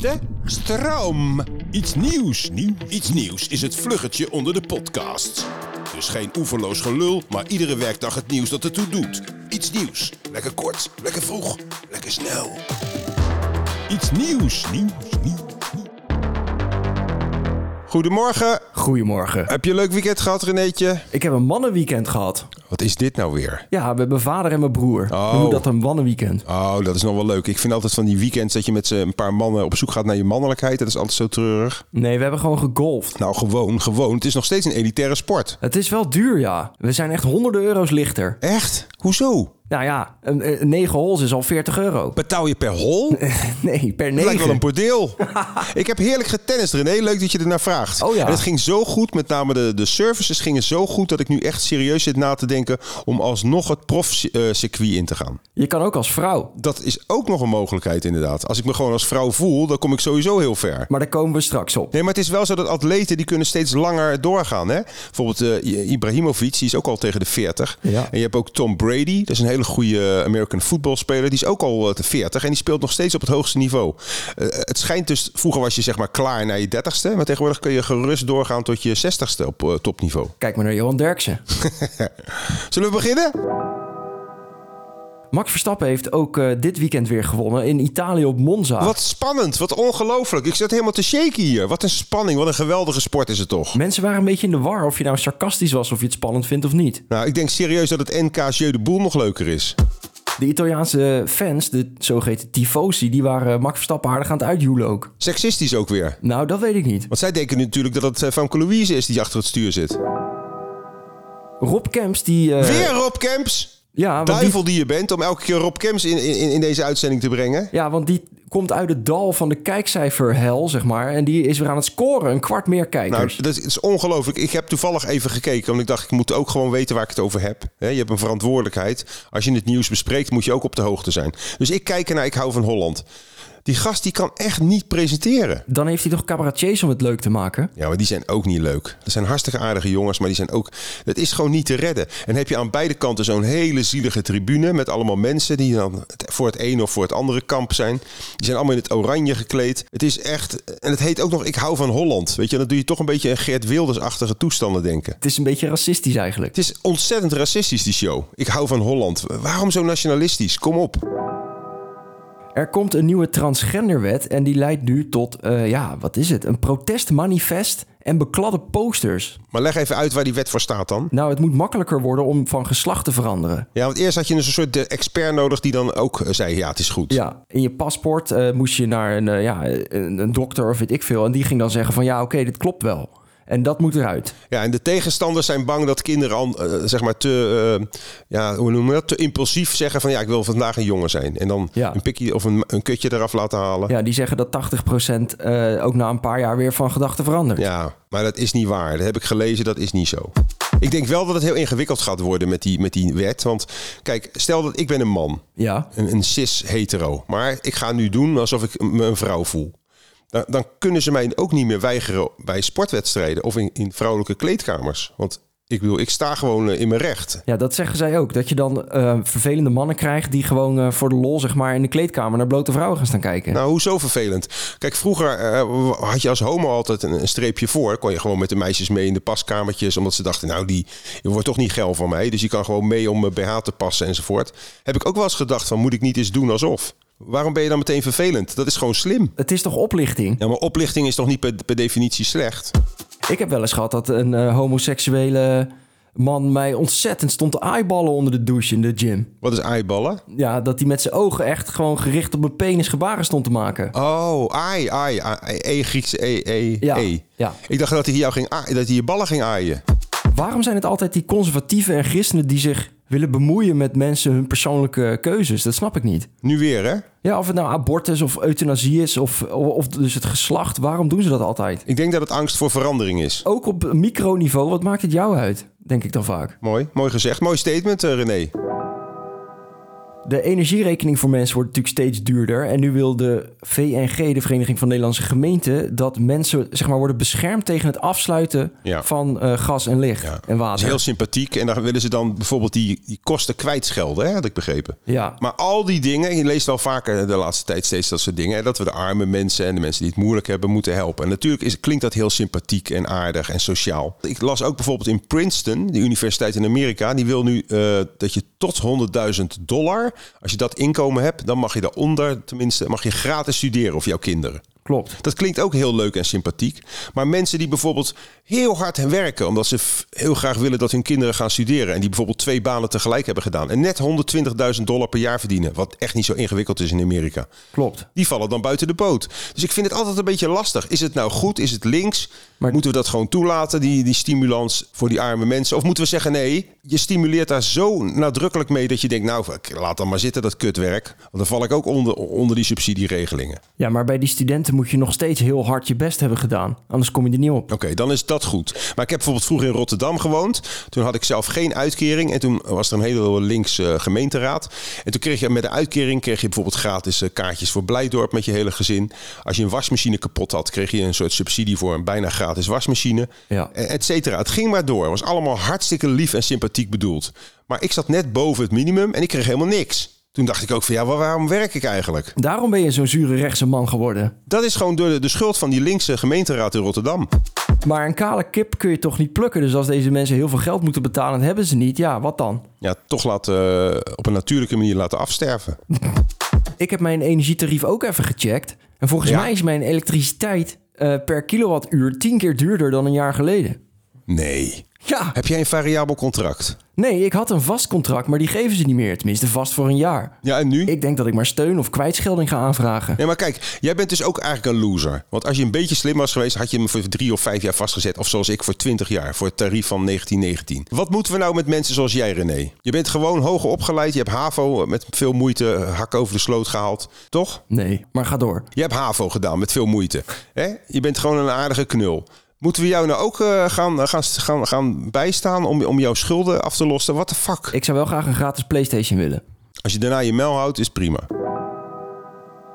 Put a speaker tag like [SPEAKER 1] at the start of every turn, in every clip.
[SPEAKER 1] De stroom. Iets nieuws. Iets nieuws is het vluggetje onder de podcast. Dus geen oeverloos gelul, maar iedere werkdag het nieuws dat ertoe doet. Iets nieuws. Lekker kort, lekker vroeg, lekker snel. Iets nieuws. Goedemorgen.
[SPEAKER 2] Goedemorgen.
[SPEAKER 1] Heb je een leuk weekend gehad, Renéetje?
[SPEAKER 2] Ik heb een mannenweekend gehad.
[SPEAKER 1] Wat is dit nou weer?
[SPEAKER 2] Ja, met mijn vader en mijn broer.
[SPEAKER 1] Oh.
[SPEAKER 2] We noemen dat een mannenweekend.
[SPEAKER 1] Oh, dat is nog wel leuk. Ik vind altijd van die weekends dat je met z'n een paar mannen op zoek gaat naar je mannelijkheid. Dat is altijd zo treurig.
[SPEAKER 2] Nee, we hebben gewoon gegolfd.
[SPEAKER 1] Nou, gewoon, gewoon. Het is nog steeds een elitaire sport.
[SPEAKER 2] Het is wel duur, ja. We zijn echt honderden euro's lichter.
[SPEAKER 1] Echt? Hoezo?
[SPEAKER 2] Nou ja, een, een 9 holes is al 40 euro.
[SPEAKER 1] Betaal je per hol?
[SPEAKER 2] Nee, per
[SPEAKER 1] Het lijkt wel
[SPEAKER 2] 9.
[SPEAKER 1] een bordeel. ik heb heerlijk getennist, René. Leuk dat je ernaar vraagt.
[SPEAKER 2] Oh ja.
[SPEAKER 1] En het ging zo goed, met name de, de services gingen zo goed... dat ik nu echt serieus zit na te denken om alsnog het profcircuit in te gaan.
[SPEAKER 2] Je kan ook als vrouw.
[SPEAKER 1] Dat is ook nog een mogelijkheid inderdaad. Als ik me gewoon als vrouw voel, dan kom ik sowieso heel ver.
[SPEAKER 2] Maar daar komen we straks op.
[SPEAKER 1] Nee, maar het is wel zo dat atleten die kunnen steeds langer doorgaan. Hè? Bijvoorbeeld eh, Ibrahimovic, die is ook al tegen de 40.
[SPEAKER 2] Ja.
[SPEAKER 1] En je hebt ook Tom Brady, dat is een hele goede eh, American voetbalspeler. Die is ook al eh, te 40 en die speelt nog steeds op het hoogste niveau. Eh, het schijnt dus, vroeger was je zeg maar klaar naar je 30ste. Maar tegenwoordig kun je gerust doorgaan tot je 60ste op eh, topniveau.
[SPEAKER 2] Kijk maar naar Johan Derksen.
[SPEAKER 1] Zullen we beginnen?
[SPEAKER 2] Max Verstappen heeft ook eh, dit weekend weer gewonnen in Italië op Monza.
[SPEAKER 1] Wat spannend, wat ongelooflijk. Ik zat helemaal te shaken hier. Wat een spanning, wat een geweldige sport is het toch?
[SPEAKER 2] Mensen waren een beetje in de war of je nou sarcastisch was of je het spannend vindt of niet.
[SPEAKER 1] Nou, ik denk serieus dat het NK Jeu de Boel nog leuker is.
[SPEAKER 2] De Italiaanse fans, de zogeheten tifosi, die waren Max Verstappen aardig aan het uitjoelen ook.
[SPEAKER 1] Sexistisch ook weer.
[SPEAKER 2] Nou, dat weet ik niet.
[SPEAKER 1] Want zij denken nu natuurlijk dat het eh, Famke Louise is die achter het stuur zit.
[SPEAKER 2] Rob Kemps, die... eh, Ah,
[SPEAKER 1] Weer Rob Kemps!
[SPEAKER 2] Ja, want die,
[SPEAKER 1] Duivel die je bent om elke keer Rob Kemps in, in, in deze uitzending te brengen.
[SPEAKER 2] ja, want die komt uit het dal van de kijkcijferhel, zeg maar. En die is weer aan het scoren. Een kwart meer kijkers.
[SPEAKER 1] Nou, dat is ongelooflijk. Ik heb toevallig even gekeken, want ik dacht, ik moet ook gewoon weten waar ik het over heb. Hè, Je hebt een verantwoordelijkheid. Als je het nieuws bespreekt, moet je ook op de hoogte zijn. Dus ik kijk ernaar, ik hou van Holland. Die gast die kan echt niet presenteren.
[SPEAKER 2] Dan heeft hij toch cabaretiers om het leuk te maken?
[SPEAKER 1] Ja, maar die zijn ook niet leuk. Dat zijn hartstikke aardige jongens, maar die zijn ook... Het is gewoon niet te redden. En heb je aan beide kanten zo'n hele zielige tribune... met allemaal mensen die dan het- voor het ene of voor het andere kamp zijn. Die zijn allemaal in het oranje gekleed. Het is echt... En het heet ook nog Ik hou van Holland. Weet je, dan doe je toch een beetje een Geert Wilders-achtige toestanden denken.
[SPEAKER 2] Het is een beetje racistisch eigenlijk.
[SPEAKER 1] Het is ontzettend racistisch, die show. Ik hou van Holland. Waarom zo nationalistisch? Kom op.
[SPEAKER 2] Er komt een nieuwe transgenderwet en die leidt nu tot, eh, ja, wat is het? Een protestmanifest en bekladde posters.
[SPEAKER 1] Maar leg even uit waar die wet voor staat dan.
[SPEAKER 2] Nou, het moet makkelijker worden om van geslacht te veranderen.
[SPEAKER 1] Ja, want eerst had je een soort eh, expert nodig die dan ook eh, zei... Ja, het is goed.
[SPEAKER 2] Ja, in je paspoort eh, moest je naar een, eh, ja, een, een dokter of weet ik veel. En die ging dan zeggen van, ja, oké, dit klopt wel. En dat moet eruit.
[SPEAKER 1] Ja, en de tegenstanders zijn bang dat kinderen an- eh, zeg maar te, eh, ja, hoe noem je dat? te impulsief zeggen van ja, ik wil vandaag een jongen zijn. En dan
[SPEAKER 2] Ja.
[SPEAKER 1] een pikje of een, een kutje eraf laten halen. Ja.
[SPEAKER 2] Ja, die zeggen dat 80% eh, ook na een paar jaar weer van gedachten verandert.
[SPEAKER 1] maar dat is niet waar. Dat heb ik gelezen, dat is niet zo. Ik denk wel dat het heel ingewikkeld gaat worden met die, met die wet. Want kijk, stel dat ik ben een man,
[SPEAKER 2] Ja.
[SPEAKER 1] een, een cis-hetero. Maar ik ga nu doen alsof ik me een vrouw voel. Dan, dan kunnen ze mij ook niet meer weigeren bij sportwedstrijden of in, in vrouwelijke kleedkamers. Want ik, bedoel, ik sta gewoon eh, in mijn recht.
[SPEAKER 2] ja, dat zeggen zij ook. Dat je dan eh, vervelende mannen krijgt die gewoon eh, voor de lol zeg maar in de kleedkamer naar blote vrouwen gaan staan kijken.
[SPEAKER 1] Nou, hoezo vervelend? Kijk, vroeger eh, had je als homo altijd een, een streepje voor. Kon je gewoon met de meisjes mee in de paskamertjes. Omdat ze dachten, nou, die je wordt toch niet geil van mij. Dus je kan gewoon mee om mijn BH te passen enzovoort. Heb ik ook wel eens gedacht van, moet ik niet eens doen alsof? Waarom ben je dan meteen vervelend? Dat is gewoon slim.
[SPEAKER 2] Het is toch oplichting?
[SPEAKER 1] Ja, maar oplichting is toch niet per, per definitie slecht?
[SPEAKER 2] Ik heb wel eens gehad dat een eh, homoseksuele man mij ontzettend stond te eyeballen onder de douche in de gym.
[SPEAKER 1] Wat is aaiballen?
[SPEAKER 2] Ja, dat hij met zijn ogen echt gewoon gericht op mijn penis gebaren stond te maken.
[SPEAKER 1] Oh, ai, ai, ai, e, Griekse e, e,
[SPEAKER 2] Ja,
[SPEAKER 1] e.
[SPEAKER 2] ja.
[SPEAKER 1] Ik dacht dat hij, jou ging aai- dat hij je ballen ging aaien.
[SPEAKER 2] Waarom zijn het altijd die conservatieven en christenen die zich willen bemoeien met mensen hun persoonlijke keuzes. Dat snap ik niet.
[SPEAKER 1] Nu weer, hè?
[SPEAKER 2] Ja, of het nou abortus of euthanasie is of, of dus het geslacht. Waarom doen ze dat altijd?
[SPEAKER 1] Ik denk dat het angst voor verandering is.
[SPEAKER 2] Ook op microniveau, wat maakt het jou uit? Denk ik dan vaak.
[SPEAKER 1] Mooi, mooi gezegd. Mooi statement, eh, René.
[SPEAKER 2] De energierekening voor mensen wordt natuurlijk steeds duurder. En nu wil de VNG, de Vereniging van Nederlandse Gemeenten, dat mensen zeg maar, worden beschermd tegen het afsluiten
[SPEAKER 1] Ja.
[SPEAKER 2] van eh, gas en licht
[SPEAKER 1] Ja.
[SPEAKER 2] en
[SPEAKER 1] Dat
[SPEAKER 2] water.
[SPEAKER 1] is heel sympathiek. En dan willen ze dan bijvoorbeeld die, die kosten kwijtschelden, hè? had ik begrepen.
[SPEAKER 2] Ja.
[SPEAKER 1] Maar al die dingen, je leest al vaker de laatste tijd steeds dat soort dingen. hè, Dat we de arme mensen en de mensen die het moeilijk hebben moeten helpen. En natuurlijk is, klinkt dat heel sympathiek en aardig en sociaal. Ik las ook bijvoorbeeld in Princeton, die universiteit in Amerika, die wil nu eh, dat je tot 100.000 dollar, als je dat inkomen hebt, dan mag je daaronder tenminste, mag je gratis studeren of jouw kinderen.
[SPEAKER 2] Klopt.
[SPEAKER 1] Dat klinkt ook heel leuk en sympathiek. Maar mensen die bijvoorbeeld heel hard werken, omdat ze f- heel graag willen dat hun kinderen gaan studeren. En die bijvoorbeeld twee banen tegelijk hebben gedaan. En net 120.000 dollar per jaar verdienen. Wat echt niet zo ingewikkeld is in Amerika.
[SPEAKER 2] Klopt.
[SPEAKER 1] Die vallen dan buiten de boot. Dus ik vind het altijd een beetje lastig. Is het nou goed? Is het links?
[SPEAKER 2] Maar-
[SPEAKER 1] Moeten we dat gewoon toelaten, die, die stimulans voor die arme mensen? Of moeten we zeggen, nee, je stimuleert daar zo nadrukkelijk mee... dat je denkt, nou, laat dan maar zitten, dat kutwerk. Want dan val ik ook onder, onder die subsidieregelingen.
[SPEAKER 2] Ja, maar bij die studenten moet je nog steeds heel hard je best hebben gedaan. Anders kom je er niet op.
[SPEAKER 1] Oké, dan is dat goed. Maar ik heb bijvoorbeeld vroeger in Rotterdam gewoond. Toen had ik zelf geen uitkering. En toen was er een hele links eh, gemeenteraad. En toen kreeg je met de uitkering kreeg je bijvoorbeeld gratis eh, kaartjes voor Blijdorp met je hele gezin. Als je een wasmachine kapot had, kreeg je een soort subsidie voor een bijna gratis wasmachine.
[SPEAKER 2] Ja.
[SPEAKER 1] Eh, Et cetera. Het ging maar door. Het was allemaal hartstikke lief en sympathiek bedoeld. Maar ik zat net boven het minimum en ik kreeg helemaal niks. Toen dacht ik ook van ja, waar- waarom werk ik eigenlijk?
[SPEAKER 2] Daarom ben je zo'n zure rechtse man geworden.
[SPEAKER 1] Dat is gewoon de, de schuld van die linkse gemeenteraad in Rotterdam.
[SPEAKER 2] Maar een kale kip kun je toch niet plukken. Dus als deze mensen heel veel geld moeten betalen en dat hebben ze niet, ja, wat dan?
[SPEAKER 1] ja, toch laten, eh, op een natuurlijke manier laten afsterven.
[SPEAKER 2] Ik heb mijn energietarief ook even gecheckt. En volgens
[SPEAKER 1] Ja?
[SPEAKER 2] mij is mijn elektriciteit eh, per kilowattuur tien keer duurder dan een jaar geleden.
[SPEAKER 1] Nee.
[SPEAKER 2] Ja,
[SPEAKER 1] Heb jij een variabel contract?
[SPEAKER 2] nee, ik had een vast contract, maar die geven ze niet meer. Tenminste, vast voor een jaar.
[SPEAKER 1] Ja, en nu?
[SPEAKER 2] Ik denk dat ik maar steun of kwijtschelding ga aanvragen.
[SPEAKER 1] Nee, maar kijk, jij bent dus ook eigenlijk een loser. Want als je een beetje slim was geweest, had je hem voor drie of vijf jaar vastgezet. Of zoals ik, voor twintig jaar, voor het tarief van 1919. Wat moeten we nou met mensen zoals jij, René? Je bent gewoon hoger opgeleid, je hebt HAVO met veel moeite eh, hak over de sloot gehaald, toch?
[SPEAKER 2] Nee, maar ga door.
[SPEAKER 1] Je hebt HAVO gedaan met veel moeite. Hè? Je bent gewoon een aardige knul. Moeten we jou nou ook eh, gaan, gaan, gaan, gaan bijstaan om, om jouw schulden af te lossen? What the fuck?
[SPEAKER 2] Ik zou wel graag een gratis PlayStation willen.
[SPEAKER 1] Als je daarna je mel houdt, is prima.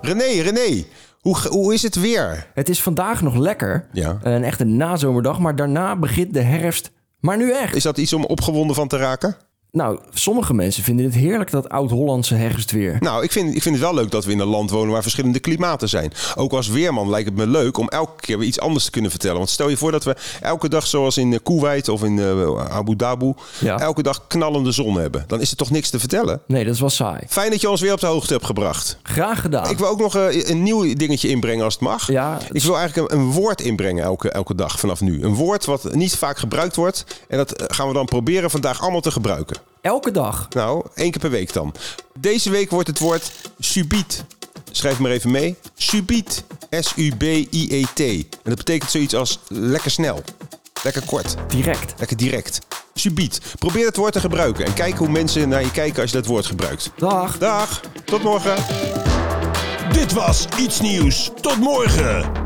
[SPEAKER 1] René, René, hoe, ge- hoe is het weer?
[SPEAKER 2] Het is vandaag nog lekker.
[SPEAKER 1] Ja.
[SPEAKER 2] Een echte nazomerdag, maar daarna begint de herfst. Maar nu echt.
[SPEAKER 1] Is dat iets om opgewonden van te raken?
[SPEAKER 2] Nou, sommige mensen vinden het heerlijk dat oud-Hollandse herfstweer.
[SPEAKER 1] Nou, ik vind, ik vind het wel leuk dat we in een land wonen waar verschillende klimaten zijn. Ook als weerman lijkt het me leuk om elke keer weer iets anders te kunnen vertellen. Want stel je voor dat we elke dag, zoals in eh, Koeweit of in eh, Abu Dhabi,
[SPEAKER 2] Ja.
[SPEAKER 1] elke dag knallende zon hebben. Dan is er toch niks te vertellen?
[SPEAKER 2] Nee, dat was saai.
[SPEAKER 1] Fijn dat je ons weer op de hoogte hebt gebracht.
[SPEAKER 2] Graag gedaan.
[SPEAKER 1] Ik wil ook nog eh, een nieuw dingetje inbrengen als het mag.
[SPEAKER 2] Ja.
[SPEAKER 1] Ik wil eigenlijk een, een woord inbrengen elke, elke dag vanaf nu. Een woord wat niet vaak gebruikt wordt. En dat eh, gaan we dan proberen vandaag allemaal te gebruiken.
[SPEAKER 2] Elke dag.
[SPEAKER 1] Nou, één keer per week dan. Deze week wordt het woord subiet. Schrijf maar even mee. Subiet. S-U-B-I-E-T. E En dat betekent zoiets als lekker snel. Lekker kort.
[SPEAKER 2] Direct.
[SPEAKER 1] Lekker direct. Subiet. Probeer het woord te gebruiken. En kijk hoe mensen naar je kijken als je dat woord gebruikt.
[SPEAKER 2] Dag.
[SPEAKER 1] Dag, tot morgen. Dit was iets nieuws. Tot morgen.